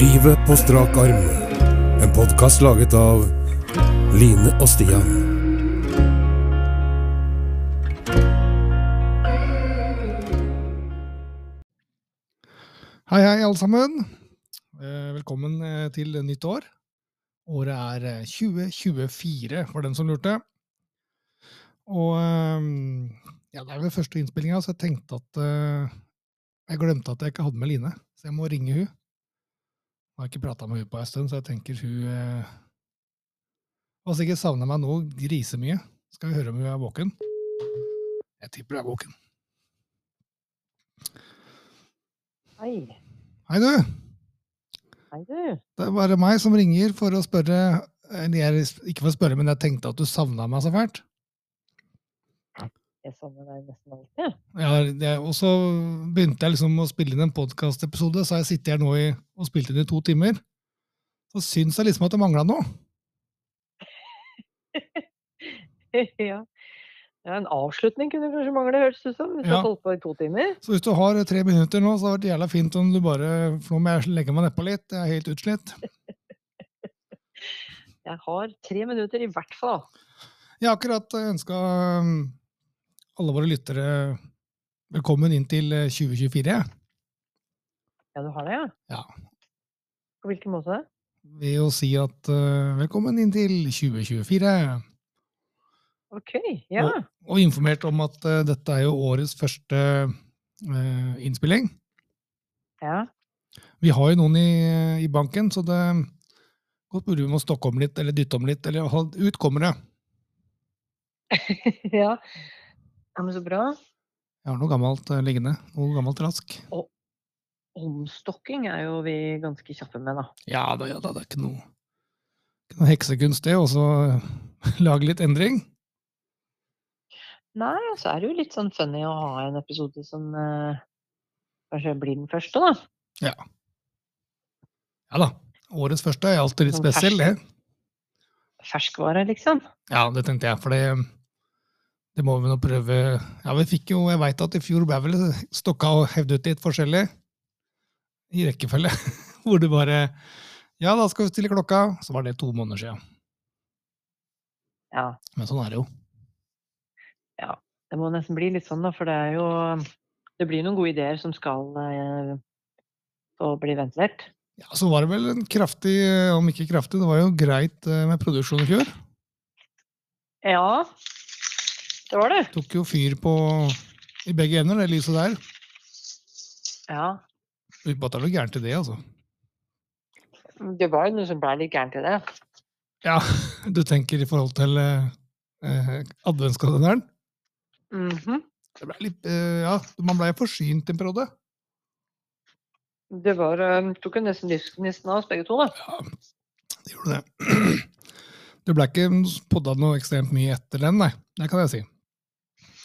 Livet på strak arm. En podkast laget av Line og Stian. Hei, hei, alle sammen. Eh, Velkommen eh, til nytt år. Året er eh, 2024, for den som lurte. Og ehm, ja, det er vel første innspillinga, så jeg tenkte at eh, Jeg glemte at jeg ikke hadde med Line, så jeg må ringe hun. Jeg har ikke prata med hun på en stund, så jeg tenker hun eh, har sikkert savna meg nå grisemye. Skal vi høre om hun er våken? Jeg tipper hun er våken. Hei. Hei, du! Hei, du. Det er bare meg som ringer for å spørre eh, eller jeg, Ikke for å spørre, men jeg tenkte at du savna meg så fælt. Jeg savner deg nesten alltid. Ja, det, og så begynte jeg liksom å spille inn en podkastepisode, så har jeg sittet her nå i, og spilt inn i to timer. Så syns jeg liksom at det mangla noe. ja. ja. En avslutning kunne kanskje mangle, hørtes det ut som. Hvis du Ja. har holdt på i to timer. Så hvis du har tre minutter nå, så hadde det vært jævla fint om du bare For nå må jeg legge meg nedpå litt, jeg er helt utslitt. Jeg har tre minutter i hvert fall. Jeg har akkurat ønska alle våre lyttere velkommen inn til eh, 2024. jeg. Ja, du har det, ja? Ja. På hvilken måte? Ved å si at eh, velkommen inn til 2024. Ok, ja. og informert om at eh, dette er jo årets første eh, innspilling. ja. Vi har jo noen i, i banken, så det godt mulig vi må stokke om litt, eller dytte om litt, eller ha- ut kommer det. ja. Ja, men så bra. Jeg har noe gammelt eh, liggende, noe gammelt rask. Omstokking er jo vi ganske kjappe med, da. Ja da, ja da, det er ikke noe, ikke noe heksekunst det, og så lage litt endring. Nei, og så er det jo litt sånn funny å ha en episode som eh, kanskje blir den første, da. Ja da, årets første er alltid litt Sånn fersk. spesiell, det. Ferskvare, liksom. Ja, det tenkte jeg, for det, det må vi nå prøve. Ja, vi fikk jo, jeg veit at i fjor ble vel stokka og hevdet litt forskjellig i rekkefølge. Hvor du bare Ja, da skal vi stille klokka. Så var det to måneder siden. Ja. Men sånn er det jo. Det må nesten bli litt sånn, da, for det er jo Det blir noen gode ideer som skal eh, få bli ventilert. Ja, Så var det vel en kraftig, om ikke kraftig, det var jo greit eh, med produksjon i fjor. Ja, det var det. Tok jo fyr på i begge ender, det lyset der. Ja. Uten at det er noe gærent i det, altså. Det var jo noe som blei litt gærent i det. Ja, du tenker i forhold til eh, eh, adventskalenderen? Mhm. Det ble litt, eh, ja, man blei forsynt en periode. Det var, eh, tok jo nesten livsgnisten av oss begge to, da. Det gjorde det. Det ble ikke podda noe ekstremt mye etter den, nei. Det kan jeg si.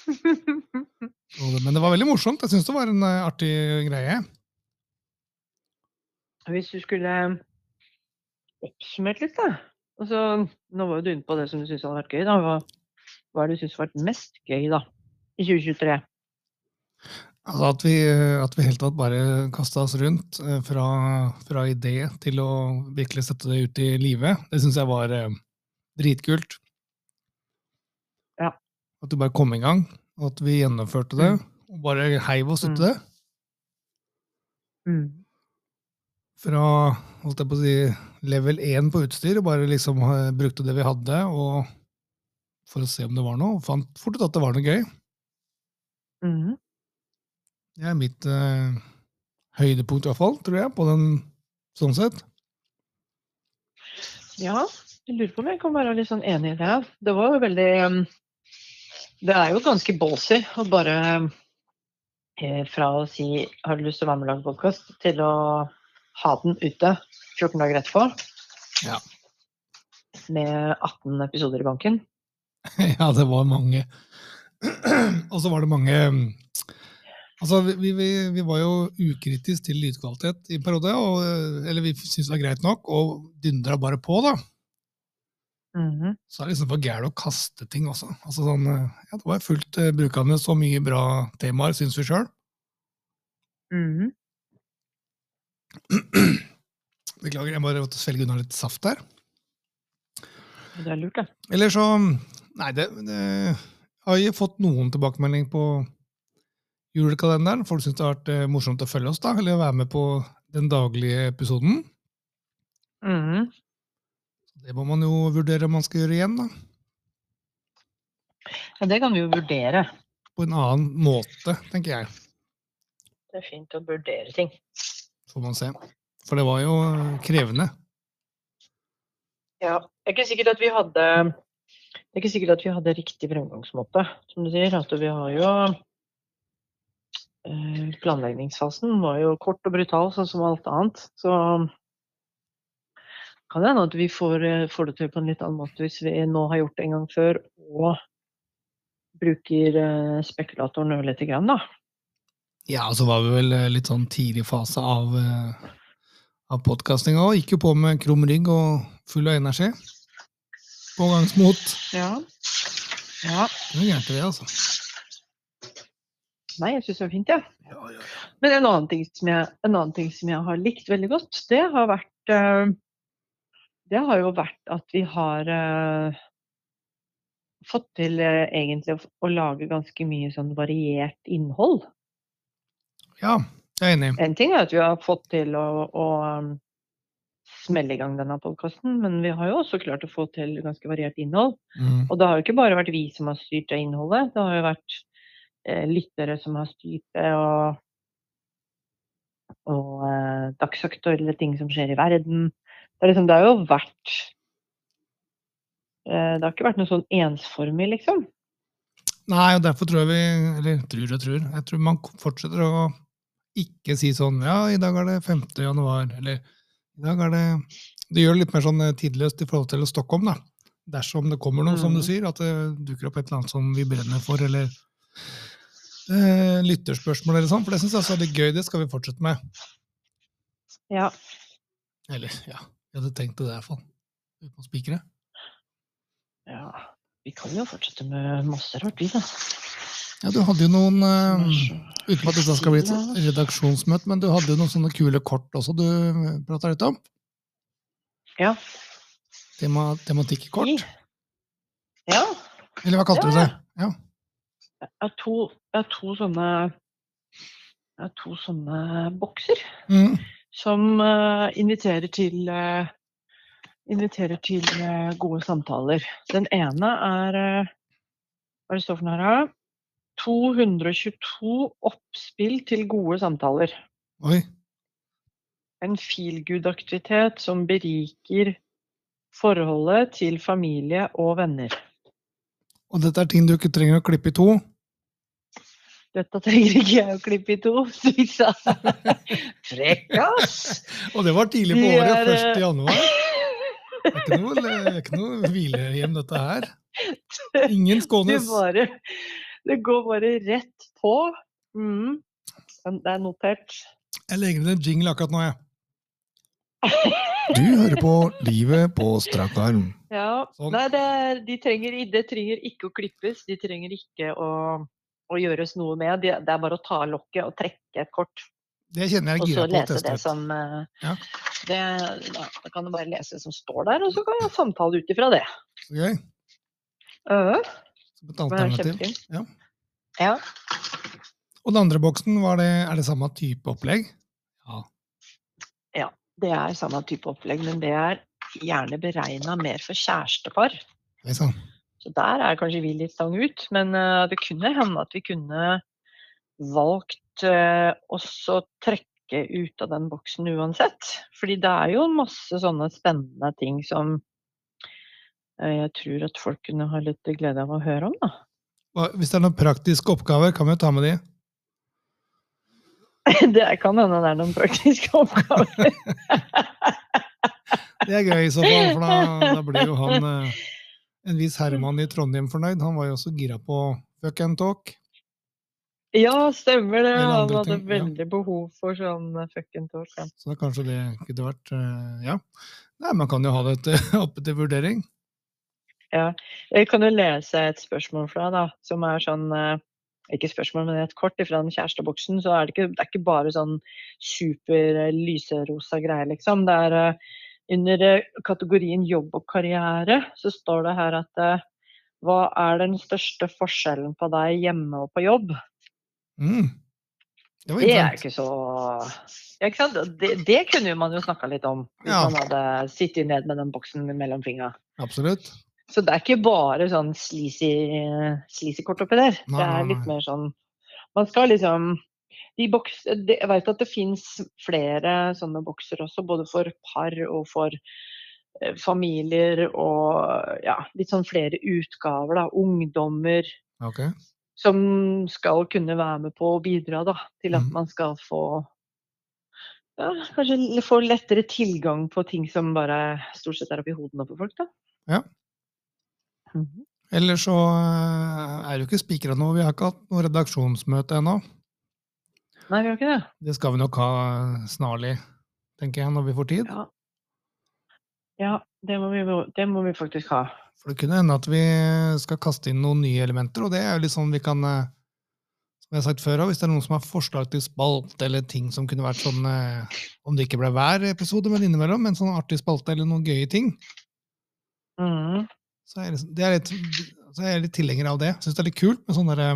Og det- Men det var veldig morsomt. Jeg syns det var en eh, artig greie. Hvis du skulle eh, oppsummert litt, da. Altså, nå var jo du inne på det som du syntes hadde vært gøy. da. Hva, hva er det du syns har vært mest gøy da, i 2023? Altså at vi eh, at vi helt tatt bare kasta oss rundt eh, fra, fra idé til å virkelig sette det ut i live. Det syns jeg var eh, dritkult. Ja. At du bare kom i gang, og at vi gjennomførte det. Og bare heiv oss uti Mm. det. fra holdt jeg på å si, level 1 på utstyr, og bare liksom eh, brukte det vi hadde og for å se om det var noe. og Fant fort ut at det var noe gøy. Mhm. Det er mitt eh, høydepunkt, i hvert fall, tror jeg, på den sånn sett. Ja, jeg lurer på om jeg kan være litt sånn enig i det. Det var jo veldig um, Det er jo ganske ballsy å bare um, eh, fra å si 'har du lyst til å være med og lage podkast', til å ha den ute 14 dager etterpå. Ja. Med 18 episoder i banken. ja, det var mange. og så var det mange mm, Altså, vi, vi- vi, vi var jo ukritisk til lydkvalitet i en periode, og, eh, eller vi syntes det var greit nok, og dundra bare på, da. Mhm. så er det liksom for gærent å kaste ting også. Altså sånn, eh, ja, det var fullt eh, brukende så mye bra temaer, syns vi sjøl. Mhm. Beklager, jeg må svelge unna litt saft der. Det er lurt, det. Eller så Nei, det, det jeg har jo fått noen tilbakemelding på julekalenderen. Folk syns det har vært eh, morsomt å følge oss, da, eller være med på den daglige episoden. Mhm. Det må man jo vurdere om man skal gjøre igjen, da. Ja, det kan vi jo vurdere. På en annen måte, tenker jeg. Det er fint å vurdere ting. Får man se. For det var jo eh, krevende. Ja, det er ikke sikkert at vi hadde det er ikke sikkert at vi hadde riktig fremgangsmåte, som du sier. At vi har jo eh, Planleggingsfasen var jo kort og brutal, sånn som alt annet. Så kan det hende at vi får, eh, får det til på en litt annen måte hvis vi nå har gjort det en gang før og bruker eh, spekulatoren ørlite grann, da. Ja, og så var vi vel eh, litt sånn tidlig fase av, eh, av podkastinga òg. Gikk jo på med krum rygg og full av energi. Pågangsmot. Ja. ja. Det er gærent, det, altså. Nei, jeg syns det var fint, jeg. Men en annen, ting som jeg, en annen ting som jeg har likt veldig godt, det har vært eh, Det har jo vært at vi har eh, fått til eh, egentlig å, f- å lage ganske mye sånn variert innhold. Ja, jeg er enig. En ting er at vi har fått til å, å um, smelle i gang denne podkasten, men vi har jo også klart å få til ganske variert innhold. Mm. Og det har jo ikke bare vært vi som har styrt det innholdet, det har jo vært eh, lyttere som har styrt det, og, og eh, dagsaktuelle ting som skjer i verden. Det, er liksom, det har jo vært eh, Det har ikke vært noe sånn ensformig, liksom. Nei, og derfor tror jeg vi Eller tror og tror. Jeg tror man fortsetter å ikke si sånn Ja, i dag er det 5. januar, eller i dag er det Det gjør det litt mer sånn eh, tidløst i forhold til Stockholm, da. Dersom det kommer noe, som du Mhm. sier, at det dukker opp et eller annet som vi brenner for, eller eh, lytterspørsmål eller sånn. For det syns jeg også er litt gøy. Det skal vi fortsette med. Ja. Eller, ja. Jeg hadde tenkt det, i hvert fall. Uten å spikre. ja. Vi kan jo fortsette med masse rart, vi, da. Ja, du hadde jo noen eh, Masse- Uten at dette skal bli et redaksjonsmøte, men du hadde jo noen sånne kule kort også du prata litt om. Ja. Tema, tematikkort. ja. Eller hva kalte du det? Ja. Jeg har to, jeg har to sånne Jeg har to sånne bokser. Mm. som eh, inviterer til eh, Inviterer til eh, gode samtaler. Den ene er eh, Hva er det står for noe her, da? 222 oppspill til gode samtaler. Oi. En feelgood-aktivitet som beriker forholdet til familie og venner. Og dette er ting du ikke trenger å klippe i to. Dette trenger ikke jeg å klippe i to, Svisa. Frekkas! Og det var tidlig på Vi året. er, eh, 1. januar. Det er ikke noe, det er ikke noe hvilehjem, dette her. Ingen Det, skånes. bare, det går bare rett på. Mm. Men Det er notert. Jeg legger inn en jingle akkurat nå, jeg. Du hører på Livet på strak arm. Ja. Sånn. Nei, det, er, de trenger, i- det trenger ikke å klippes. De trenger ikke å, å gjøres noe med. De, det er bare å ta lokket og trekke et kort, Det kjenner og jeg gira så på å lese teste det ut. som eh, Ja. det, da, da kan du bare lese det som står der, og så kan jeg samtale ut ifra det. Så gøy. Uh, Som et det er alternativ. kjempefint. Ja. Ja. Og den andre boksen, var det, er det samme type opplegg? Det er samme type opplegg, men det er gjerne beregna mer for kjærestepar. Nei sann. Så der er kanskje vi litt stang ut, men eh, det kunne hende at vi kunne valgt eh, også trekke ut av den boksen uansett. Fordi det er jo masse sånne spennende ting som eh, jeg tror at folk kunne ha litt glede av å høre om, da. Hva- Hvis det er noen praktiske oppgaver, kan vi jo ta med de. Det kan hende det er noen praktiske oppgaver. Det er gøy i så fall, for da, da blir jo han eh, en viss herremann i Trondheim fornøyd. Han var jo også gira på fuck and talk. Ja, stemmer det. Eller Han andre hadde ting, ja. veldig behov for sånn eh, fucking talk. ja. Så da kanskje det kunne vært eh, Ja. Nei, man kan jo ha det til- oppe til vurdering. Jeg kan jo lese et spørsmål fra deg, da, som er sånn eh, ikke spørsmål, men et kort fra den kjæresteboksen, så er det ikke, det er ikke bare sånn super eh, lyserosa greier, liksom. Det er eh, under eh, kategorien jobb og karriere, så står det her at eh, hva er den største forskjellen på deg hjemme og på jobb? Mm. Det var Det er interessant. jo ikke så ja, ikke sant? Og Det, det kunne jo man jo snakka litt om hvis Ja. man hadde sittet ned med den boksen mellom fingra. Absolutt. Så det er ikke bare sånn sleazy, sleazy kort oppi der. Nei, det nei, er litt nei. mer sånn Man skal liksom de boks, det, Jeg veit at det fins flere sånne bokser også, både for par og for eh, familier og ja, litt sånn flere utgaver, da. Ungdommer Ok. som skal kunne være med på å bidra da, til at Mhm. man skal få ja, kanskje l- få lettere tilgang på ting som bare stort sett er oppi hodene på folk, da. Ja. Mhm. Ellers så eh, er det jo ikke spikra noe. Vi har ikke hatt noe redaksjonsmøte ennå. Nei, vi gjør ikke det. Det skal vi nok ha eh, snarlig, tenker jeg, når vi får tid. Ja, ja det, må vi, det må vi faktisk ha. For det kunne hende at vi skal kaste inn noen nye elementer, og det er jo litt sånn vi kan eh, Som jeg har sagt før også, hvis det er noen som har forslag til spalte eller ting som kunne vært sånn eh, Om det ikke ble hver episode, men innimellom, en sånn artig spalte eller noen gøye ting, Mhm. så er, jeg liksom- det er litt, så er jeg litt tilhenger av det. Syns det er litt kult med sånn derre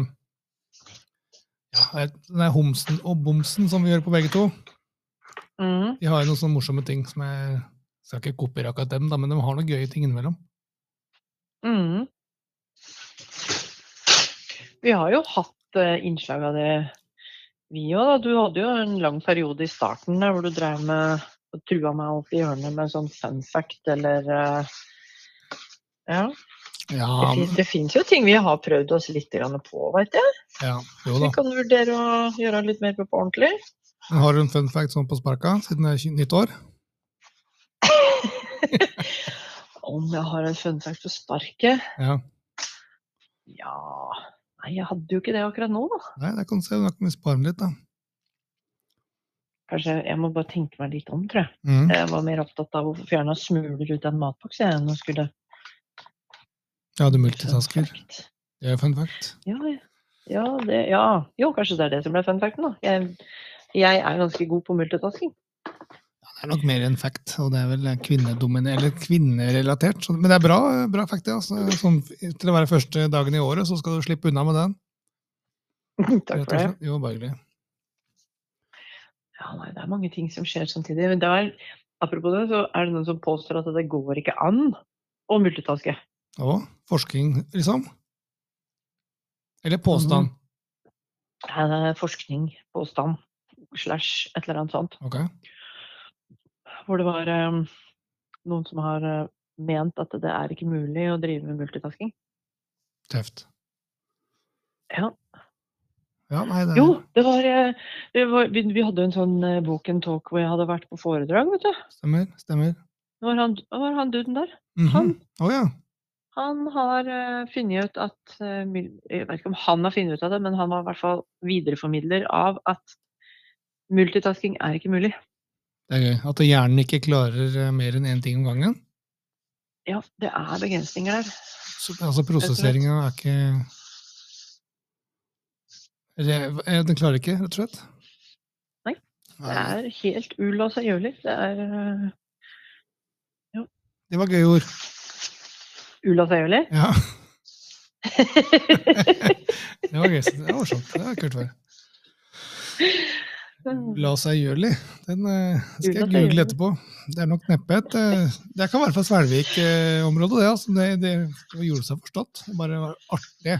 ja, den der homsen og bomsen som vi gjør på begge to. Mhm. De har jo noen sånne morsomme ting som jeg skal ikke kopiere akkurat dem, da, men de har noen gøye ting innimellom. Mhm. Vi har jo hatt eh, innslag av det, vi òg. Du hadde jo en lang periode i starten der hvor du drev med og trua meg opp i hjørnet med en sånn fun fact eller eh, Ja. Det Ja, fin- Det fins jo ting vi har prøvd oss litt grann på, veit jeg. ja jo Vi da. kan vurdere å gjøre litt mer på på ordentlig. Men Har du en fun fact sånn på sparka siden det er tjue- nytt år? Om jeg har en fun fact på sparket? Ja. Ja Nei, jeg hadde jo ikke det akkurat nå, da. Nei, det kan du se. Da kan vi spare den litt, da. Kanskje jeg må bare tenke meg litt om, tror jeg. Mhm. Jeg var mer opptatt av å få fjerna smuler ut av en matboks jeg, enn å skulle Ja, du multitasker. Det er fun fact. Ja, ja. ja, det, ja. Jo, kanskje det er det som ble fun facten, da. Jeg, jeg er ganske god på multitasking. Det er nok mer en fact, og det er vel kvinnedomine- eller kvinnerelatert. så- Men det er bra, bra fact, ja. Så, sånn, til å være første dagen i året, så skal du slippe unna med den. rett Takk for og det. slett. Jo, bare hyggelig. Ja, nei, det er mange ting som skjer samtidig. Men det er, apropos det, så er det noen som påstår at det går ikke an å multitaske. Og forskning, liksom. Eller påstand. Mhm. Det er eh, forskning, påstand, slash et eller annet sånt. Ok. Hvor det var eh, noen som har eh, ment at det er ikke mulig å drive med multitasking. Tøft. Ja, Ja, nei, det er Jo, det var, eh, det var vi, vi hadde en sånn eh, Walk and Talk hvor jeg hadde vært på foredrag, vet du. Stemmer. Stemmer. Det var han, det var han duden der. Mhm. Han- Å ja. Han har eh, funnet ut at eh, mul- Jeg vet ikke om han har funnet ut av det, men han var i hvert fall videreformidler av at multitasking er ikke mulig. Det er gøy. At hjernen ikke klarer eh, mer enn én ting om gangen. Ja, det er begrensninger der. Så, altså prosesseringa er ikke Re- eh, Den klarer ikke, rett og slett? Nei. Det Nei. er helt ulasaggjørlig. Det er uh, Det var gøye ord. ulasaggjørlig. Ja, det var gøy. Det var morsomt. Det har jeg ikke hørt før. La seg gjørlig. Den eh, skal jeg Ulasaggjørlig. google etterpå. Det er nok neppe et eh, Det kan være fra Svelvik-området, det. altså. Det, det gjorde seg forstått. Det bare var artig.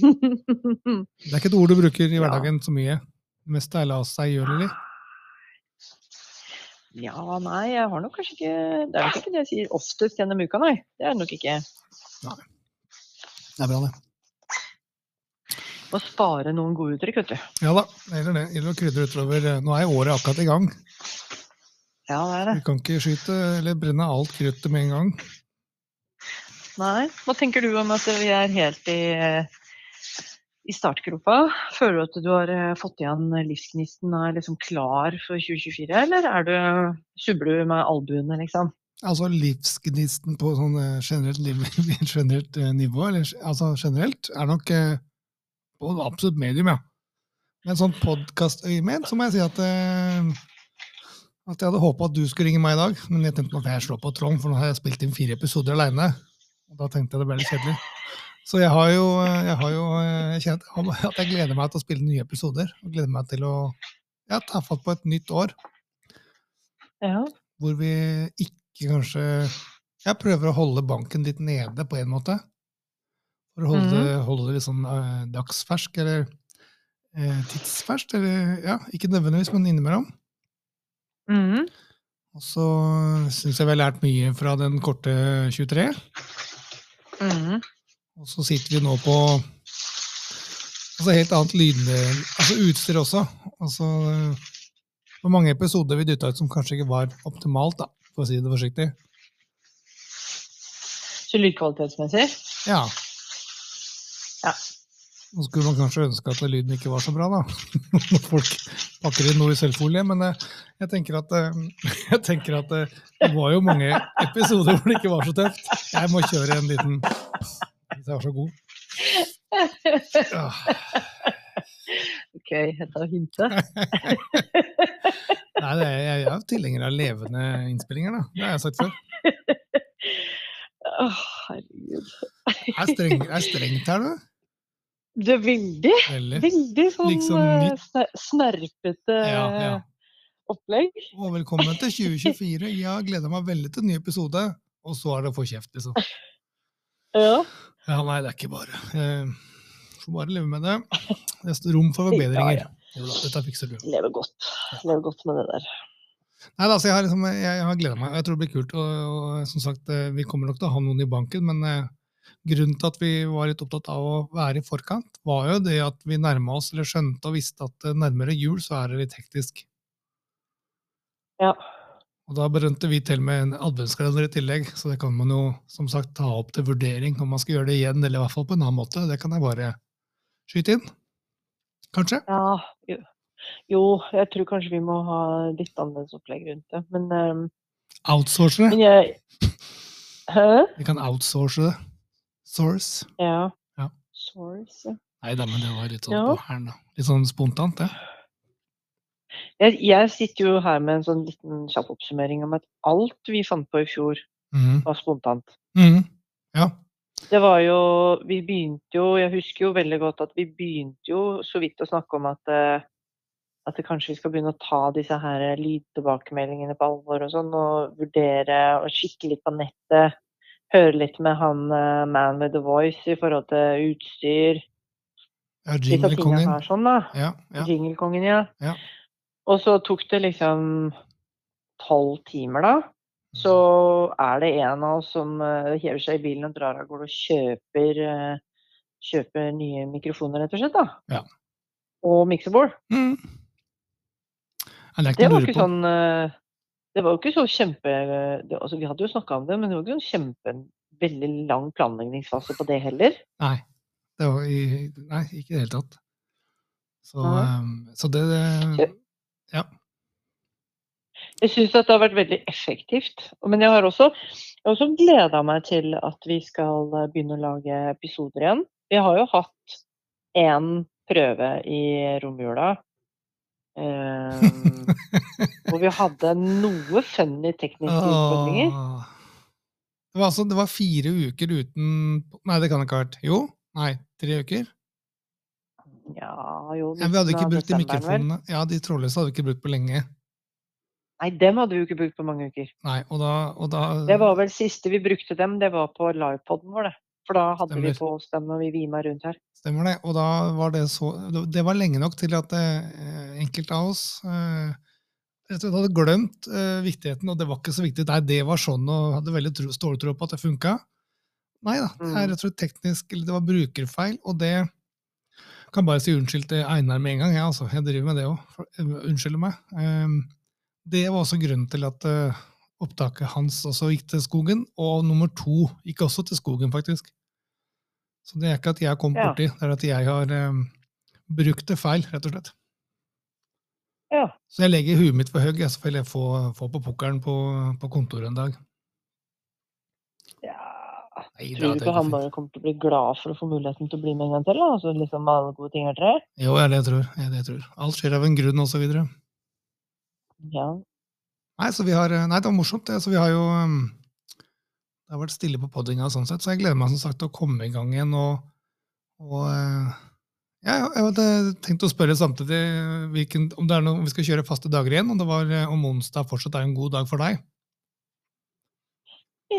Det er ikke et ord du bruker i Ja. hverdagen så mye. Det meste er la seg gjørlig. ja, nei, jeg har nok kanskje ikke Det er nok ikke det jeg sier oftest gjennom uka, nei. Det er det nok ikke. Det er bra, det. Må spare noen gode uttrykk, vet du. Ja da. Eller det. Eller å krydre utover. Nå er jo året akkurat i gang. Ja, det er det. Vi kan ikke skyte eller brenne alt kruttet med en gang. Nei. Hva tenker du om at vi er helt i, eh, i startgropa? Føler du at du har eh, fått igjen livsgnisten og er liksom klar for 2024, eller er du, subber du med albuene, liksom? Altså livsgnisten på sånn eh, generelt, liv, generelt eh, nivå, eller altså generelt, er nok eh, på absolutt medium, ja. Men sånn podkastøyemed så må jeg si at eh, at jeg hadde håpa at du skulle ringe meg i dag, men jeg tenkte nå får jeg slå på Trond, for nå har jeg spilt inn fire episoder aleine. Da tenkte jeg det ble litt kjedelig. Så jeg har jo, jeg har jo eh, jeg kjenner at jeg gleder meg til å spille nye episoder. Og gleder meg til å ja, ta fatt på et nytt år Ja. hvor vi ikke kanskje Jeg prøver å holde banken litt nede, på en måte. For å holde, holde det litt sånn eh, dagsfersk, eller eh, tidsferskt, eller ja, ikke nødvendigvis, men innimellom. Mhm. Og så syns jeg vi har lært mye fra den korte 23. Mhm. Og så sitter vi nå på altså helt annet lyddel, altså utstyr også. Altså det var mange episoder vi dytta ut som kanskje ikke var optimalt, da, for å si det forsiktig. Så lydkvalitetsmessig? Ja. Ja. Nå skulle man kanskje ønske at lyden ikke var så bra, da. Når folk pakker inn noe i sølvfolie. Men eh, jeg tenker at, eh, jeg tenker at eh, det var jo mange episoder hvor det ikke var så tøft. Jeg må kjøre en liten Hvis jeg var så god. Ah, Ja. Ok, jeg tar hintet. Nei, det er, jeg er jo tilhenger av levende innspillinger, da. Det har jeg sagt før. Åh, herregud. Er streng, er strengt her, du? Du er veldig, Veldig. veldig sånn Liksom eh, nytt. sner- snerpete Ja, ja. opplegg. Og velkommen til 2024. Jeg har gleda meg veldig til en ny episode. Og så er det å få kjeft, liksom. Ja. Ja, nei, det er ikke bare. Eh, får bare leve med det. Det er rom for forbedringer. Ja, Jo da, Dette fikser du. Lever godt. Lever godt med det der. Nei, da, så jeg har, liksom, jeg, jeg har gleda meg. og Jeg tror det blir kult. Og, og som sagt, eh, vi kommer nok til å ha noen i banken, men eh, grunnen til at vi var litt opptatt av å være i forkant, var jo det at vi nærma oss, eller skjønte og visste at eh, nærmere jul så er det litt hektisk. Ja. Og da berømte vi til med en adventskalender i tillegg, så det kan man jo som sagt ta opp til vurdering om man skal gjøre det igjen, eller i hvert fall på en annen måte. Det kan jeg bare skyte inn. Kanskje. ja. Jo, jo, jeg tror kanskje vi må ha litt annerledes opplegg rundt det. Men, eh, Outsource det. men jeg Hæ? Vi kan outsource det. Source. Ja. Ja. Source, ja. Nei da, men det var litt sånn Ja. på hælen, da. Litt sånn spontant, det. Jeg, jeg sitter jo her med en sånn liten kjapp oppsummering om at alt vi fant på i fjor, Mhm. var spontant. Mhm. Ja. Det var jo Vi begynte jo Jeg husker jo veldig godt at vi begynte jo så vidt å snakke om at eh, at det kanskje vi skal begynne å ta disse her eh, lydtilbakemeldingene på alvor og sånn, og vurdere og kikke litt på nettet. Høre litt med han eh, Man with the Voice i forhold til utstyr. ja Litt av tingene Jinglekongen. her sånn, da. Ja, ja. Jinglekongen, ja. Ja. Og så tok det liksom tolv timer, da. Mhm. Så er det en av oss som eh, hever seg i bilen og drar av gårde og kjøper, eh, kjøper nye mikrofoner, rett og slett. da. Ja. Og miksebord. Mhm. Nei, Det er ikke Det noe å var lure ikke på. sånn eh, Det var jo ikke så kjempe det, altså Vi hadde jo snakka om det, men det var ikke sånn kjempe veldig lang planleggingsfase på det heller. Nei. Det var i, nei, ikke i det hele tatt. Så, Nei. eh, så det, det Jeg syns at det har vært veldig effektivt. Men jeg har også, jeg har også gleda meg til at vi skal eh, begynne å lage episoder igjen. Vi har jo hatt én prøve i romjula. eh, hvor vi hadde noe funny tekniske utfordringer. Åh. Det var, altså, det var fire uker uten Nei, det kan det ikke ha vært. Jo? Nei, tre uker. Ja, jo, Ja, vi hadde midten ikke av brukt de desemberen, vel? mikrofonene. Ja, de trådløse hadde vi ikke brukt på lenge. Nei, dem hadde vi jo ikke brukt på mange uker. Nei, og da, og da Det var vel siste vi brukte dem, det var på livepoden vår, det. For da hadde vi Stemmer. på oss dem når vi vima rundt her. Stemmer det. Og da var det så Det var lenge nok til at eh, enkelte av oss eh, rett og slett hadde glemt eh, viktigheten, og det var ikke så viktig. Nei, det var sånn, og hadde veldig tro- ståltro på at det funka. Nei da, det er Mm. rett og slett teknisk eller Det var brukerfeil, og det kan bare si unnskyld til Einar med en gang. Jeg, altså, jeg driver med det òg. Unnskyld meg. Ehm, det var også grunnen til at eh, opptaket hans også gikk til skogen, og nummer to gikk også til skogen, faktisk. Så det er ikke at jeg kom Ja. borti, det er at jeg har eh, brukt det feil, rett og slett. Ja. Så jeg legger huet mitt for høyt, jeg, så får jeg få, få på pukkelen på, på kontoret en dag. Ja, Nei, Tror du det ikke han bare kommer til å bli glad for å få muligheten til å bli med en gang til? da? Altså liksom alle gode ting er tre? Jo, det er det jeg tror. Det er det jeg tror. Alt skjer av en grunn, og så videre. Ja. Nei, så vi har, eh, nei, det var morsomt. det. Så vi har jo um, Det har vært stille på poddinga, sånn sett, så jeg gleder meg som sagt til å komme i gang igjen. Og, og eh, ja, ja, jeg hadde tenkt å spørre samtidig eh, hvilken, om, det er noe, om vi skal kjøre faste dager igjen. Om, det var, eh, om onsdag fortsatt er en god dag for deg.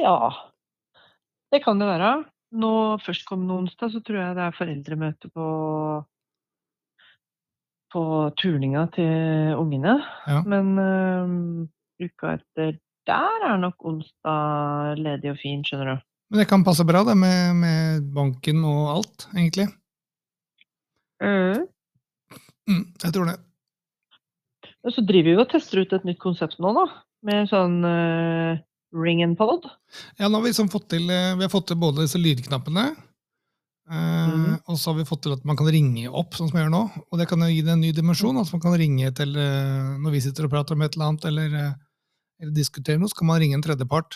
ja. Det kan det være. Nå Førstkommende onsdag så tror jeg det er foreldremøte på på turninga til ungene. Ja. Men eh, uka etter der er nok onsdag ledig og fin, skjønner du. Men det kan passe bra, det, med, med banken og alt, egentlig. Mm, jeg tror det. Og så driver vi jo og tester ut et nytt konsept nå, da. Med sånn eh, ring and pod. Ja, nå har vi, liksom fått til, eh, vi har fått til både disse lydknappene, eh, Mhm. og så har vi fått til at man kan ringe opp, sånn som jeg gjør nå. Og det kan jo gi det en ny dimensjon. Mhm. Altså man kan ringe til, eh, når vi sitter og prater om et eller annet, eller, eh, eller diskuterer noe, så kan man ringe en tredjepart.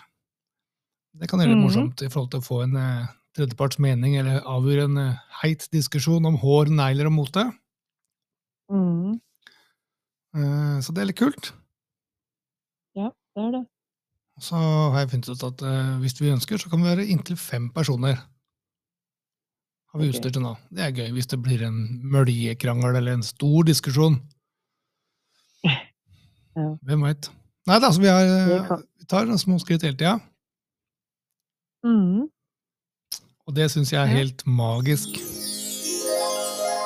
Det kan gjøre det Mhm. morsomt i forhold til å få en eh, tredjeparts mening, eller avgjøre en eh, heit diskusjon om hår, negler og mote. Mm, Eh, så det er litt kult. det er det. Så har jeg funnet ut at eh, hvis vi ønsker, så kan vi være inntil fem personer. Har vi Ok. utstyr til nå. Det er gøy hvis det blir en møljekrangel eller en stor diskusjon. Ja. Hvem veit. Nei da, altså vi, har, eh, Det kan- vi tar små skritt hele tida, Mm, og det syns jeg er Ja. helt magisk.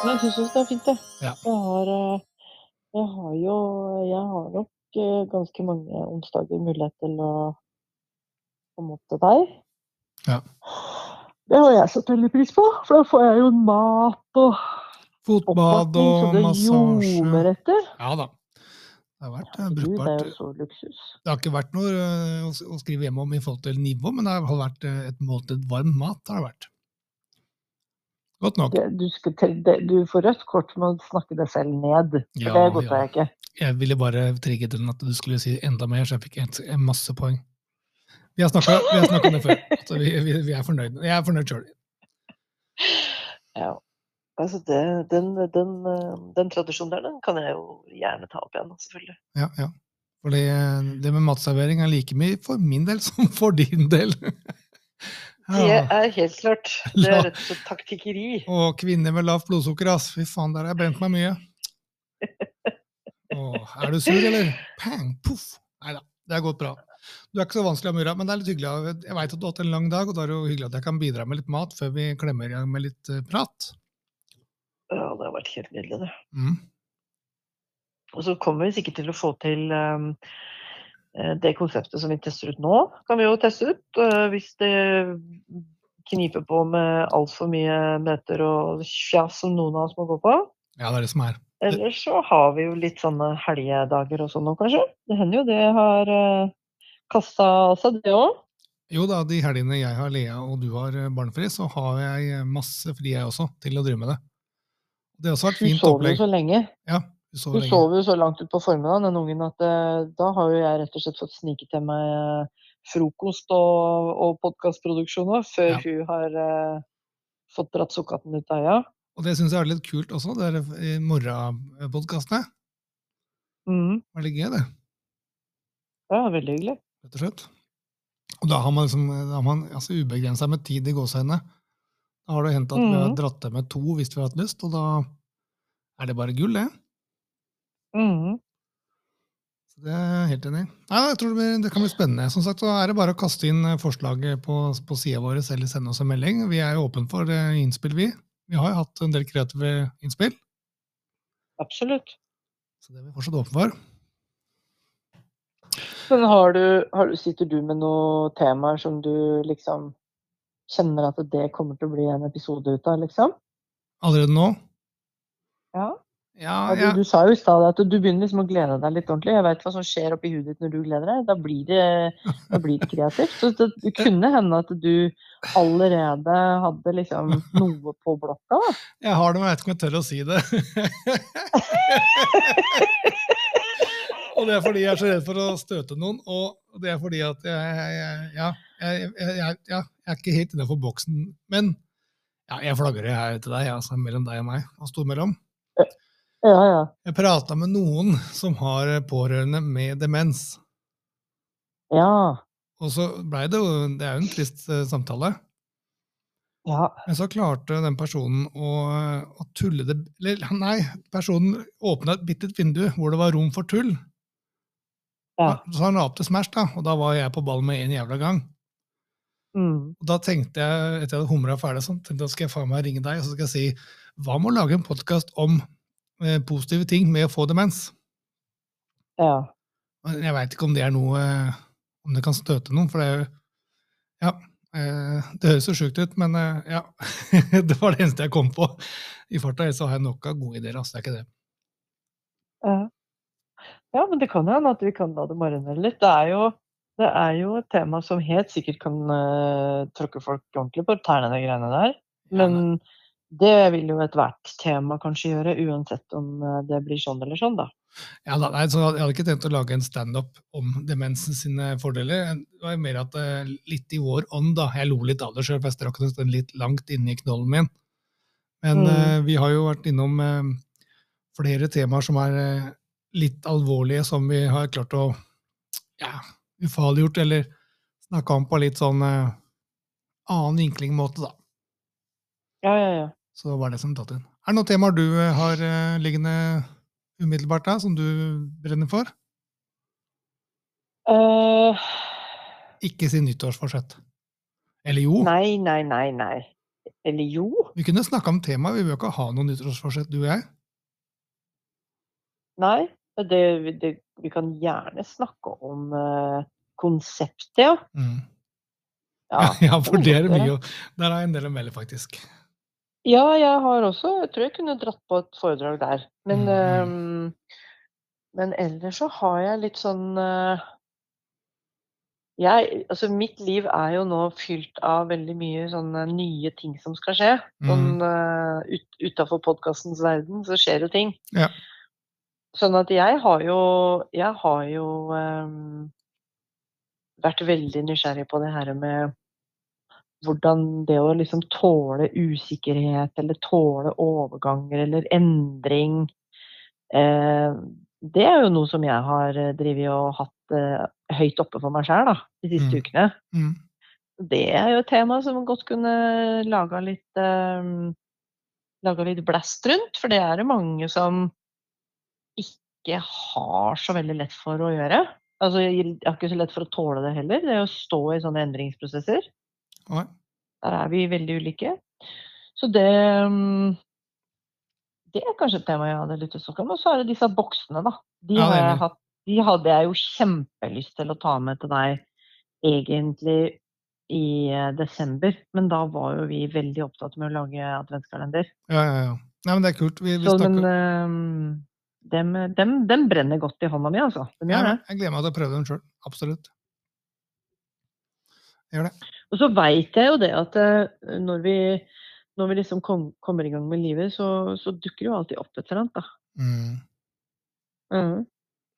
men jeg syns også det er fint, det. Ja. Jeg, har, eh, jeg har jo Jeg har nok eh, ganske mange onsdager mulighet til å komme opp til deg. Ja. Det har jeg satt veldig pris på, for da får jeg jo mat og Fotbad oppvaskning så og det massasje. ljomer etter. Ja da. Det har vært eh, Herregud, Det er brukbart. jo så luksus. Det har ikke vært noe eh, å s- å skrive hjemme om i forhold til nivå, men det har vært eh, et måltid varm mat. har det vært. Godt nok. Det, du, skal, til- det, du får rødt kort med å snakke deg selv ned. For Ja, det godtar ja. jeg ikke. Jeg ville bare trigge den at du skulle si enda mer, så jeg fikk et, en masse poeng. Vi har snakka vi har snakket om det før. At vi, vi, vi er fornøyd. Jeg er fornøyd sjøl. Ja. Altså det, den, den, eh, den tradisjonen der, den kan jeg jo gjerne ta opp igjen, selvfølgelig. Ja, ja. Fordi eh, det med matservering er like mye for min del som for din del. Det Ja. er helt klart. Det er rett og slett taktikkeri. Og kvinner med lavt blodsukker, ass. Fy faen, der har jeg brent meg mye. Åh, er du sur, eller? Pang, poff. Nei da, det har gått bra. Du er ikke så vanskelig å ha mura, men det er litt hyggelig. av- Jeg veit at du har hatt en lang dag, og da er det jo hyggelig at jeg kan bidra med litt mat før vi klemmer i gang med litt eh, prat. Ja, det har vært helt nydelig, det. Mm. Og så kommer vi sikkert til å få til eh, eh, det konseptet som vi tester ut nå, kan vi jo teste ut. eh, hvis det kniper på med altfor mye møter og fjas som noen av oss må gå på. Ja, det er det som er. Ellers så har vi jo litt sånne helgedager og sånn nå, kanskje. Det hender jo det har kasta seg, det òg. Jo da, de helgene jeg har Lea og du har eh, barnefri, så har jeg eh, masse fri jeg også, til å drive med det. Det har også vært Hun fint sover jo opplegg. så lenge. Du sover Hun lenge. sover jo så langt utpå formiddagen, den ungen, at eh, da har jo jeg rett og slett fått snike til meg eh, frokost og, og podkastproduksjoner før Ja. hun har eh, fått dratt sukkaten ut av øya. Og det syns jeg er litt kult også, det er i morgenpodkastene. Mm. Det er litt gøy, det. Ja, veldig hyggelig. rett og slett. Og da har man liksom da har man, altså, ubegrensa med tid i gåsehendene. Da har det hendt at vi har Mhm. dratt til med to hvis vi har hatt lyst, og da er det bare gull, det. Mm. Så det er jeg helt enig i. Nei, jeg tror det, blir, det kan bli spennende. Som sagt, så er det bare å kaste inn eh, forslaget på, på sida vår eller sende oss en melding. Vi er jo åpne for eh, innspill, vi. Vi har jo hatt en del kreative innspill, Absolutt. så det er vi fortsatt åpne for. Men har du, har du, sitter du med noen temaer som du liksom kjenner at det kommer til å bli en episode ut av, liksom? Allerede nå? Ja. Ja, Ja, ja. du, du sa jo i stad at du begynner liksom å glede deg litt ordentlig. Jeg veit hva som skjer oppi huet ditt når du gleder deg. Da blir det, da blir det kreativt. Så det, det kunne hende at du allerede hadde liksom noe på blokka. da. Jeg har det, men jeg vet ikke om jeg tør å si det. og det er fordi jeg er så redd for å støte noen, og det er fordi at jeg, jeg, jeg Ja, jeg, jeg, jeg, ja, jeg er ikke helt innafor boksen, men ja, jeg flagrer her til deg, altså, mellom deg og meg. Hva sto mellom? Ja, ja. Jeg prata med noen som har pårørende med demens. Ja. Og så blei det jo Det er jo en trist eh, samtale. ja. Men så klarte den personen å, å tulle det Eller nei, personen åpna et bitte vindu hvor det var rom for tull. ja. Så han la opp til Smash, da, og da var jeg på ball med en jævla gang. Mm. Og da tenkte jeg, etter jeg hadde humra ferdig, sånn, tenkte jeg, skal jeg faen meg ringe deg og så skal jeg si hva med å lage en podkast om eh, positive ting med å få demens? ja. Men jeg veit ikke om det er noe eh, Om det kan støte noen, for det er jo Ja. eh, Det høres jo sjukt ut, men eh, ja. Det var det eneste jeg kom på i farta. Ellers så har jeg nok av gode ideer. Altså, det er ikke det. Ja. ja, men det kan jo hende at vi kan la det marine litt. Det er jo, det er jo et tema som helt sikkert kan eh, tråkke folk ordentlig på tærne, de greiene der. Men det vil jo ethvert tema kanskje gjøre, uansett om eh, det blir sånn eller sånn, da. Ja, da, nei, så jeg hadde ikke tenkt å lage en standup om demensen sine fordeler. Det var jo mer at eh, litt i vår ånd, da. Jeg lo litt av det sjøl, for jeg strakk den stund litt langt inni knollen min. Men Mm. eh, vi har jo vært innom eh, flere temaer som er eh, litt alvorlige, som vi har klart å ja, ufarliggjort, eller snakka om på litt sånn eh, annen vinkling-måte, da. Ja, ja, ja. Så det var det som tatt inn. Er det noen temaer du eh, har eh, liggende umiddelbart da, som du brenner for? Eh, Ikke si nyttårsforsett. Eller jo, nei, nei, nei, nei. Eller jo? vi kunne snakka om temaet. Vi bør ikke ha noe nyttårsforsett, du og jeg. Nei. Det, det, vi kan gjerne snakke om eh, konseptet, ja. Mm. ja. Ja, for kan det er godt det mye gjøre. å Der er en del å melde, faktisk. Ja, jeg har også Jeg tror jeg kunne dratt på et foredrag der. Men, Mm, øhm, men ellers så har jeg litt sånn øh, jeg, altså Mitt liv er jo nå fylt av veldig mye sånne nye ting som skal skje. Sånn, øh, ut, Utafor podkastens verden så skjer jo ting. Ja. Sånn at jeg har jo Jeg har jo øhm, vært veldig nysgjerrig på det her med hvordan det å liksom tåle usikkerhet, eller tåle overganger eller endring eh, Det er jo noe som jeg har eh, drevet og hatt eh, høyt oppe for meg sjøl de siste Mm. ukene. Mm. Det er jo et tema som godt kunne laga litt eh, Laga litt blast rundt, for det er det mange som ikke har så veldig lett for å gjøre. Altså, jeg har ikke så lett for å tåle det heller, det å stå i sånne endringsprosesser. Oi. Der er vi veldig ulike. Så det mm, Det er kanskje et tema jeg hadde lyst til å snakke om. Og så er det disse boksene, da. De, Ja, det er har jeg enig. hatt, de hadde jeg jo kjempelyst til å ta med til deg egentlig i eh, desember. Men da var jo vi veldig opptatt med å lage adventskalender. Ja, ja, ja. Nei, men det er kult. Vi, vi Så snakker men eh, dem, dem, dem brenner godt i hånda mi, altså. De Nei, gjør det. men Jeg gleder meg til å prøve dem sjøl. Absolutt. Og så veit jeg jo det at eh, når vi, når vi liksom kom, kommer i gang med livet, så, så dukker det jo alltid opp et eller annet, da. Mm. Mm,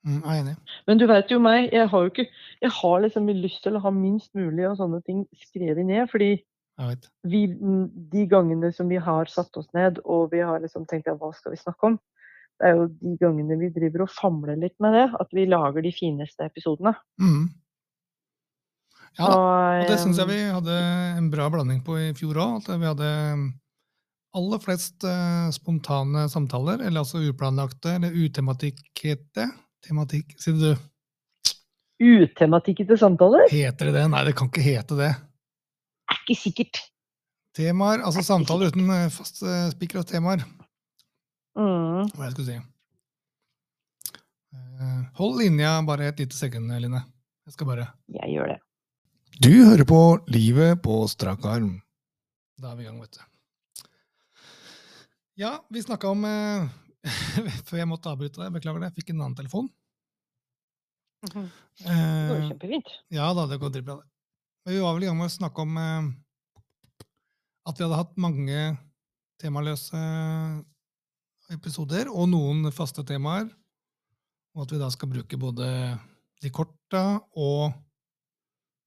jeg er enig. Men du veit jo meg, jeg har jo ikke Jeg har liksom lyst til å ha minst mulig av sånne ting skrevet ned, fordi Jeg vet. vi, mm, de gangene som vi har satt oss ned og vi har liksom tenkt ja, hva skal vi snakke om, det er jo de gangene vi driver og famler litt med det, at vi lager de fineste episodene. Mm. Ja da. Og, Og det syns jeg eh, vi hadde en bra blanding på i fjor òg. At vi hadde ehm, aller flest eh, spontane samtaler, eller altså uplanlagte eller utematikkete. Tematikk, sier du. eh, Utematikkete samtaler Heter det det? Nei, det kan ikke hete det. er ikke sikkert. Temaer, altså samtaler uten eh, fast eh, spikra temaer, Mm. hva jeg skulle si. Eh, Hold linja bare et lite sekund, Line. Jeg skal bare Jeg gjør det. Du hører på Livet på strak arm. Da er vi i gang, vet du. Ja, vi snakka om eh, Før jeg måtte avbryte deg, beklager det, jeg fikk en annen telefon. Mhm. Det går jo Eh, kjempefint. ja da, det går dritbra, det. Men vi var vel i gang med å snakke om eh, at vi hadde hatt mange temaløse episoder, og noen faste temaer. Og at vi da skal bruke både de korta og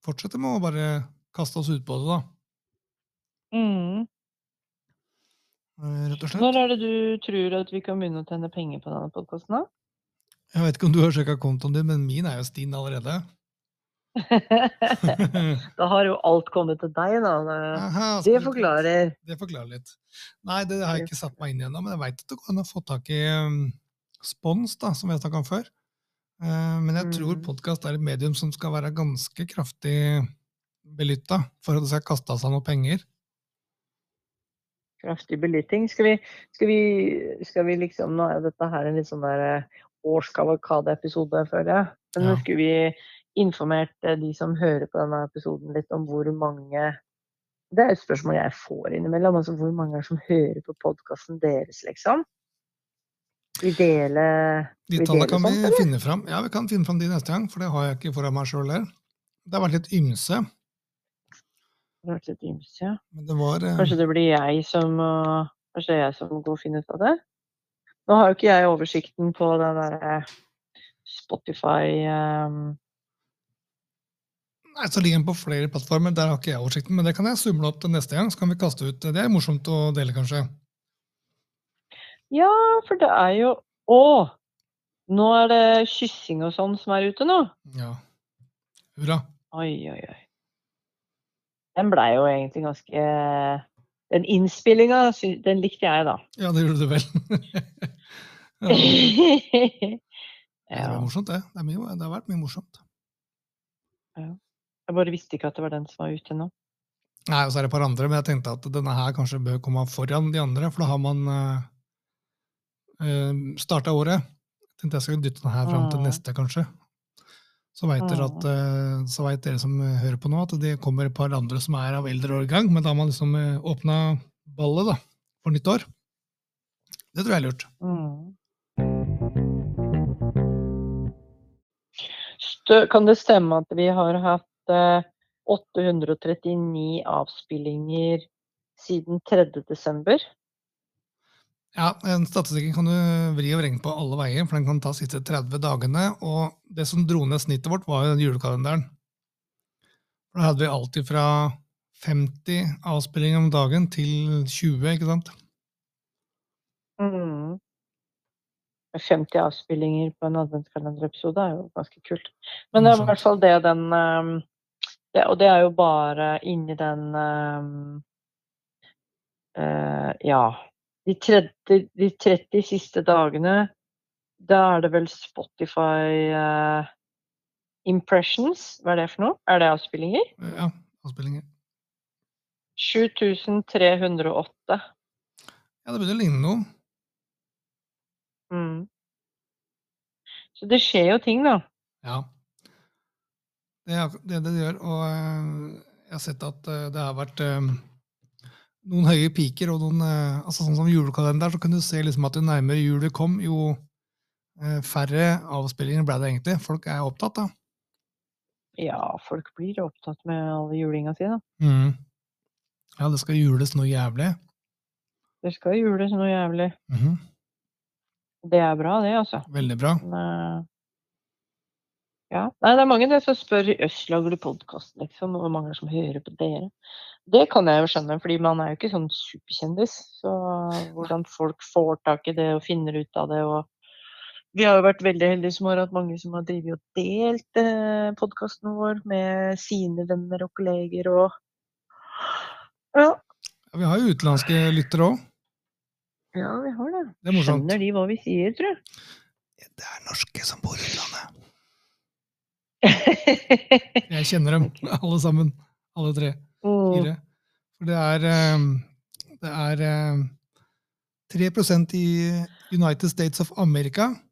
fortsette med å bare kaste oss ut på det, da. Mm. eh, Rett og slett. Når er det du tror at vi kan begynne å tjene penger på denne podkasten, da? Jeg vet ikke om du har sjekka kontoen din, men min er jo stinn allerede. da har jo alt kommet til deg, da. Aha, Det skal du- forklarer. Det forklarer litt. Nei, det har jeg ikke satt meg inn i ennå, men jeg veit at det går an å få tak i um, spons, da, som vi har snakka om før. Eh, men jeg tror Mhm. podkast er et medium som skal være ganske kraftig belytta for at det skal kaste av seg noe penger. Kraftig belytting. Skal vi, skal vi, skal vi liksom Nå er jo dette her en litt sånn der eh, årskavalkade-episode, føler jeg. Men Ja. skulle vi informert eh, de som hører på denne episoden litt om hvor mange Det er et spørsmål jeg får innimellom. Altså hvor mange er det som hører på podkasten deres, liksom? Vi deler De Vi tallene deler kan vi sånt, eller? finne fram. Ja, vi kan finne fram de neste gang, for det har jeg ikke foran meg sjøl her. Det har vært litt ymse, Det har vært litt ymse. men det var eh, Kanskje det blir jeg som øh, Kanskje det er jeg som går og finner ut av det? Nå har jo ikke jeg oversikten på den derre Spotify ehm, Nei, så ligger den på flere plattformer. Der har ikke jeg oversikten, men det kan jeg sumle opp til neste gang. Så kan vi kaste ut. Det er morsomt å dele, kanskje. Ja, for det er jo Å! Nå er det kyssing og sånn som er ute nå. Ja. Hurra. Oi, oi, oi. Den blei jo egentlig ganske Den innspillinga, den likte jeg, da. Ja, det gjorde du vel. ja. Det var ja. morsomt, det. Det, er mye, det har vært mye morsomt. Jeg bare visste ikke at det var den som var ute nå. Nei, og så er det et par andre, men jeg tenkte at denne her kanskje bør komme foran de andre, for da har man uh, starta året. Jeg tenkte jeg skulle dytte den her fram til Mm. neste, kanskje. Så veit dere, at, eh, så vet dere som eh, hører på nå, at det kommer et par andre som er av eldre årgang, men da har man liksom uh, åpna ballet da, for nytt år. Det tror jeg er lurt. Mm. Stø- Kan det stemme at vi har hatt eh, 839 avspillinger siden 3. desember? Ja, en Statistikken kan du vri og vrenge på alle veier, for den kan ta siste 30 dagene. Og det som dro ned snittet vårt, var jo den julekalenderen. For Da hadde vi alltid fra 50 avspillinger om dagen til 20, ikke sant? Mm. 50 avspillinger på en adventskalenderepisode er jo ganske kult. Men det er i Morsomt. hvert fall det den ehm, det, Og det er jo bare inni den ehm, eh, Ja. De 30, de 30 siste dagene, da er det vel Spotify eh, Impressions? Hva er det for noe? Er det avspillinger? Ja, avspillinger. 7308. Ja, det begynner å ligne noe. Mm. Så det skjer jo ting, da. Ja. Det er ak- det det gjør. Og eh, jeg har sett at eh, det har vært eh, noen høye piker, og noen eh, altså Sånn som julekalender, så kunne du se liksom at jo nærmere jul vi kom, jo eh, færre avspillinger ble det egentlig. Folk er opptatt, da. Ja, folk blir opptatt med alle julinga si, da. Mm. Ja, det skal jules noe jævlig. Det skal jules noe jævlig. Mhm. Det er bra, det, altså. Veldig bra. Men, eh, ja. Nei, det er mange det som spør Jøss, lager du podkast, liksom? Og hvor mange er det som hører på dere? Det kan jeg jo skjønne, fordi man er jo ikke sånn superkjendis. Så hvordan folk får tak i det og finner ut av det og Vi har jo vært veldig heldige som har hatt mange som har drevet og delt eh, podkasten vår med sine venner og kolleger og Ja. Ja, vi har jo utenlandske lyttere òg. Ja, vi har det. Det er morsomt. Skjønner de hva vi sier, tror jeg. Det er norske som bor i utlandet. Jeg kjenner dem, alle sammen. Alle tre. Mm, Fire. For det er eh, Det er eh, 3 i United States of America. Og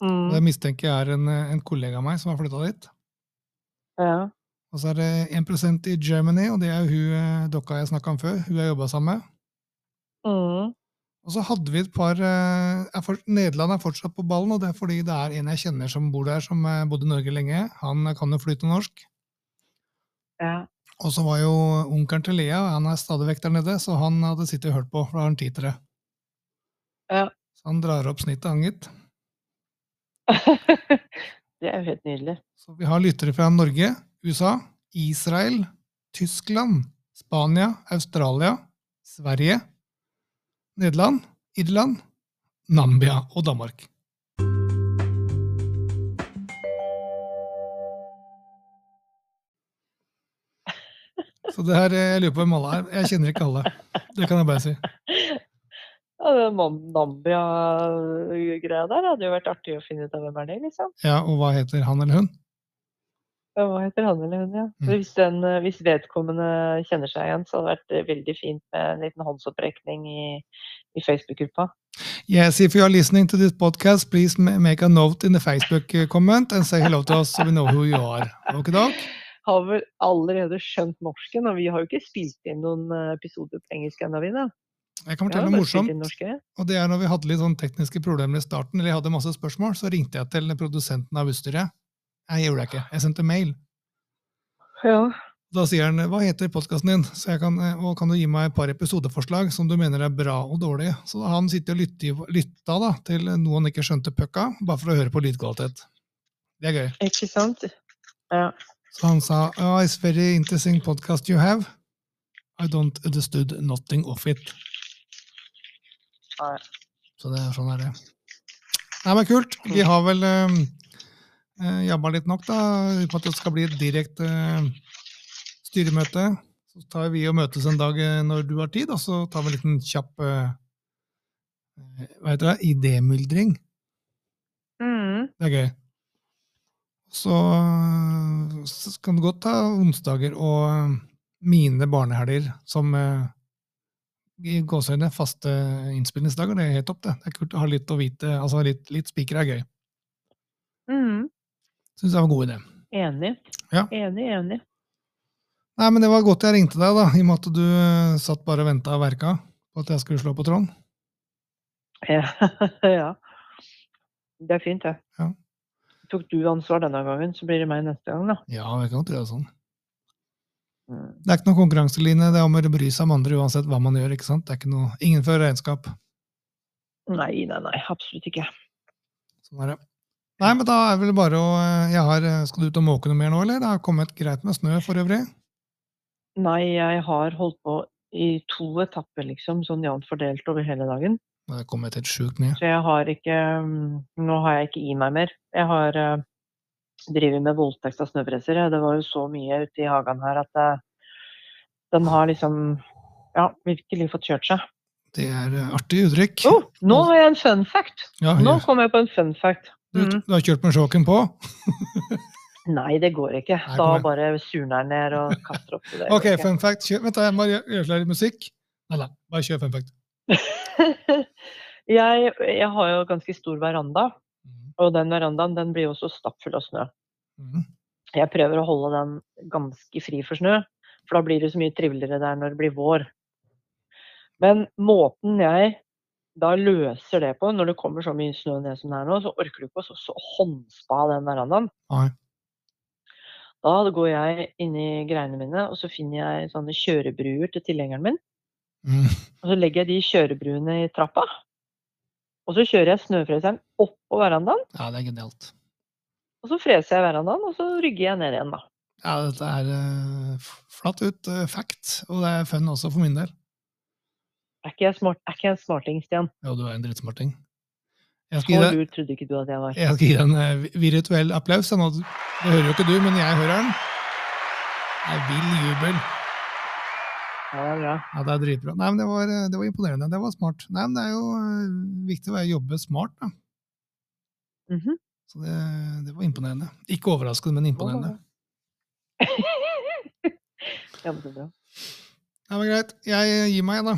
Det mm, mistenker jeg er en, eh, en kollega av meg som har flytta dit. ja. Og så er det 1 i Germany, og det er jo hun eh, dokka jeg snakka om før. Hun jeg jobba sammen med. Mm, Og så hadde vi et par eh, er for, Nederland er fortsatt på ballen, og det er fordi det er en jeg kjenner som bor der, som eh, bodde i Norge lenge. Han kan jo flyte norsk. ja. Og så var jo onkelen til Lea, han er stadig vekk der nede, så han hadde sittet og hørt på, for da har han tid til det. Ja. Så han drar opp snittet, han gitt. det er jo helt nydelig. Så vi har lyttere fra Norge, USA, Israel, Tyskland, Spania, Australia, Sverige, Nederland, Irland, Nambia og Danmark. Så det her, eh, jeg lurer på hvem alle er. Jeg kjenner ikke alle. Det kan jeg bare si. Ja, det Nam- Nambia-greia der hadde jo vært artig å finne ut av hvem er det, liksom. Ja, Og hva heter han eller hun? Ja, Hva heter han eller hun, ja. Så Mm. Hvis, den, eh, hvis vedkommende kjenner seg igjen, så hadde det vært eh, veldig fint med en liten håndsopprekning i, i Facebook-gruppa. Yes, if you are listening to this podcast, please ma- make a note in the Facebook eh, comment and say hello to us so we know who you are. Okay, dog? Har vel allerede skjønt norsken, og vi har jo ikke spilt inn noen eh, episoder på engelsk ennå, vi da. Jeg kan Vi har fortelle jo noe bare spilt inn morsomt. norske. Og det er når vi hadde litt sånn tekniske problemer i starten, eller jeg hadde masse spørsmål, så ringte jeg til produsenten av utstyret. Nei, jeg gjorde det ikke. Jeg sendte mail. Ja. Da sier han 'Hva heter podkasten din?' Så jeg kan, eh, og kan du gi meg et par episodeforslag som du mener er bra og dårlig? Så han sitter og lytter, lytta da, til noe han ikke skjønte pucka, bare for å høre på lydkvalitet. Det er gøy. Ikke sant? Så han sa oh, 'It's very interesting podcast you have'. I don't understood nothing of it. Nei. Så det er sånn er det. Nei, men kult. Vi har vel eh, eh, jabba litt nok, da. Uten at det skal bli et direkte eh, styremøte. Så tar vi og møtes en dag eh, når du har tid, og så tar vi en liten kjapp eh, eh, Hva heter det? Idémyldring. Mm. Det er gøy. Så, øh, så kan du godt ta onsdager og øh, mine barnehelger som øh, i gåseøyne faste innspillingsdager. Det er helt topp, det. Det er kult å ha litt å vite. Altså litt, litt spiker er gøy. Mm. Syns jeg var en god idé. Enig. Ja. Enig, enig. Nei, men det var godt jeg ringte deg, da, i og med at du øh, satt bare og venta og verka på at jeg skulle slå på Trond. Ja. ja. Det er fint, det. Ja. Tok du ansvar denne gangen, så blir det meg neste gang, da. Ja, jeg kan godt gjøre det sånn. Mm. Det er ikke noe konkurranseline. Det er om å bry seg om andre uansett hva man gjør. ikke sant? Det er ikke noe, Ingen fører regnskap. Nei, nei, nei. Absolutt ikke. Sånn er det. Nei, men da er vel bare å eh, jeg har, eh, Skal du ut og måke noe mer nå, eller? Det har kommet greit med snø for øvrig? Nei, jeg har holdt på i to etapper, liksom, sånn jevnt fordelt over hele dagen. Nei, Det har kommet helt sjukt mye. Så jeg har ikke mm, Nå har jeg ikke i meg mer. Jeg har eh, drevet med voldtekt av snøfreser. jeg. Det var jo så mye ute i hagen her at eh, den har liksom ja, virkelig fått kjørt seg. Det er eh, artig uttrykk. Oh, nå har jeg en fun fact! Ja, Nå du, kom jeg på en fun fact. du, Mm. du har kjørt med sjåken på? Nei, det går ikke. Nei, Da kom igjen. bare surner jeg ned og kaster opp. Det går Ok, ikke. fun fact. Kjør, vent, da, jeg må gjø- gjøre klar musikk. Nei, nei, bare kjør fun fact. jeg, jeg har jo ganske stor veranda, Mm, og den verandaen den blir jo så stappfull av snø. Mhm. Jeg prøver å holde den ganske fri for snø, for da blir det så mye triveligere der når det blir vår. Men måten jeg da løser det på, når det kommer så mye snø ned som det er nå, så orker du ikke å så, så håndspa den verandaen. Nei. Da går jeg inn i greiene mine, og så finner jeg sånne kjørebruer til tilhengeren min. Mm. Og så legger jeg de kjørebruene i trappa. Og så kjører jeg snøfreseren oppå verandaen, Ja, det er genialt. og så freser jeg verandaen, og så rygger jeg ned igjen, da. Ja, dette er eh, f- flatt ut eh, fact, og det er fun også for min del. Er ikke jeg, smart, er ikke jeg en smarting, Stian? Jo, du er en drittsmarting. Jeg skal gi Så deg lur trodde ikke du at jeg var. Jeg skal gi deg en eh, vi- virtuell applaus. jeg nå. Det hører jo ikke du, men jeg hører den. Det er vill jubel. Ja, det er bra. Ja, det er dritbra. Nei, men det var, eh, det var imponerende. Det var smart. Nei, men det er jo eh, viktig å være- jobbe smart, da. Mhm. Så det, det var imponerende. Ikke overraskende, men imponerende. ja, men det er bra. Ja, men greit. Jeg gir meg, da.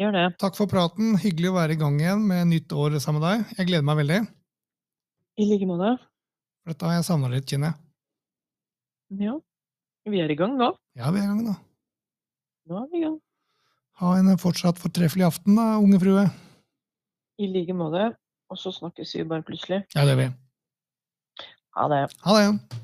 Gjør det. Takk for praten. Hyggelig å være i gang igjen med nytt år sammen med deg. Jeg gleder meg veldig. I like måte. For Dette har jeg savna litt, kjenner jeg. Ja. Vi er i gang nå. Ja, vi er i gang, da. Nå er vi i gang. Ha en fortsatt fortreffelig aften, da, unge frue. I like måte. Og så snakkes vi bare plutselig. Ja, det gjør vi. Ha det. Ha det.